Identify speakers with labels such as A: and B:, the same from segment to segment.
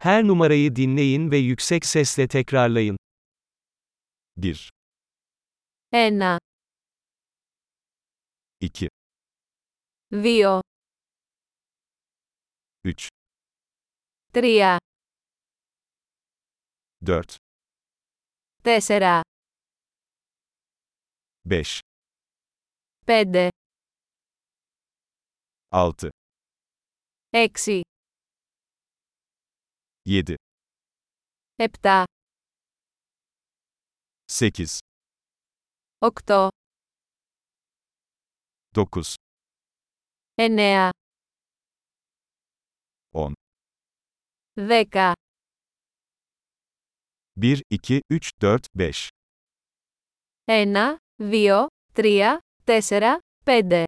A: Her numarayı dinleyin ve yüksek sesle tekrarlayın.
B: 1,
C: 1,
B: 2,
C: 2,
B: 3,
C: 3,
B: 4,
C: 4,
B: 5,
C: 5,
B: 6,
C: 6,
B: 7,
C: 7,
B: 8,
C: 8,
B: 9,
C: 9,
B: 10,
C: 10,
B: 1, 2, 3, 4, 5,
C: 1, 2, 3, 4, 5.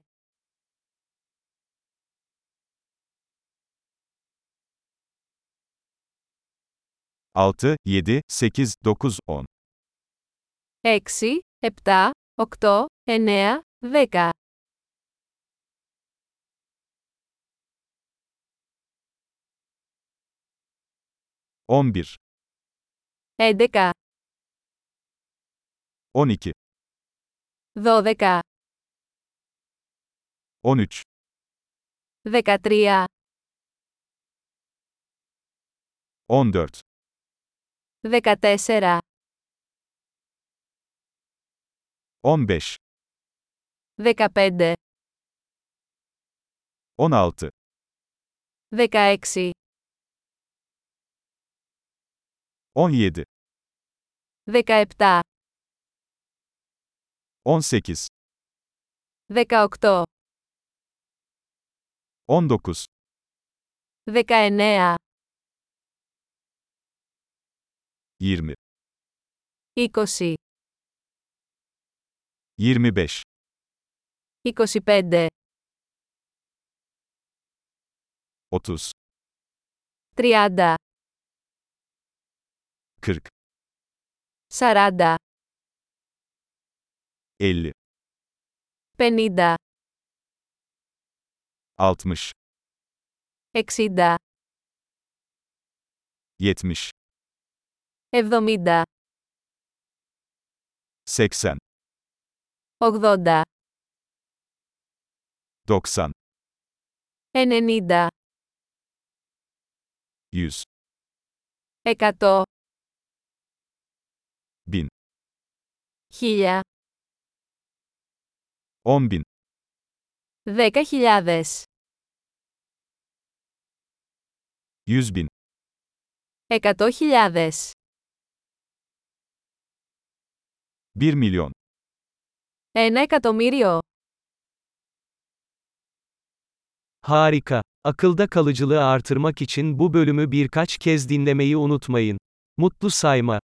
B: altı, yedi, sekiz, dokuz, on.
C: 6, 7, 8, 9, 10.
B: On bir,
C: 11,
B: on iki,
C: 12,
B: on üç,
C: 13,
B: on dört,
C: 14,
B: on beş,
C: 15,
B: on altı,
C: 16,
B: on yedi,
C: 17,
B: on sekiz,
C: 18,
B: on dokuz,
C: 19,
B: yirmi,
C: 20,
B: yirmi beş,
C: 25,
B: otuz,
C: 30,
B: kırk,
C: 40,
B: elli,
C: 50,
B: altmış,
C: 60,
B: yetmiş,
C: 70,
B: seksen,
C: 80,
B: doksan,
C: 90,
B: yüz,
C: 100,
B: bin,
C: 1000,
B: on bin,
C: 10.000,
B: yüz bin,
C: 100.000,
B: bir milyon,
C: 1 εκατομμύριο.
A: Harika. Akılda kalıcılığı artırmak için bu bölümü birkaç kez dinlemeyi unutmayın. Mutlu sayma.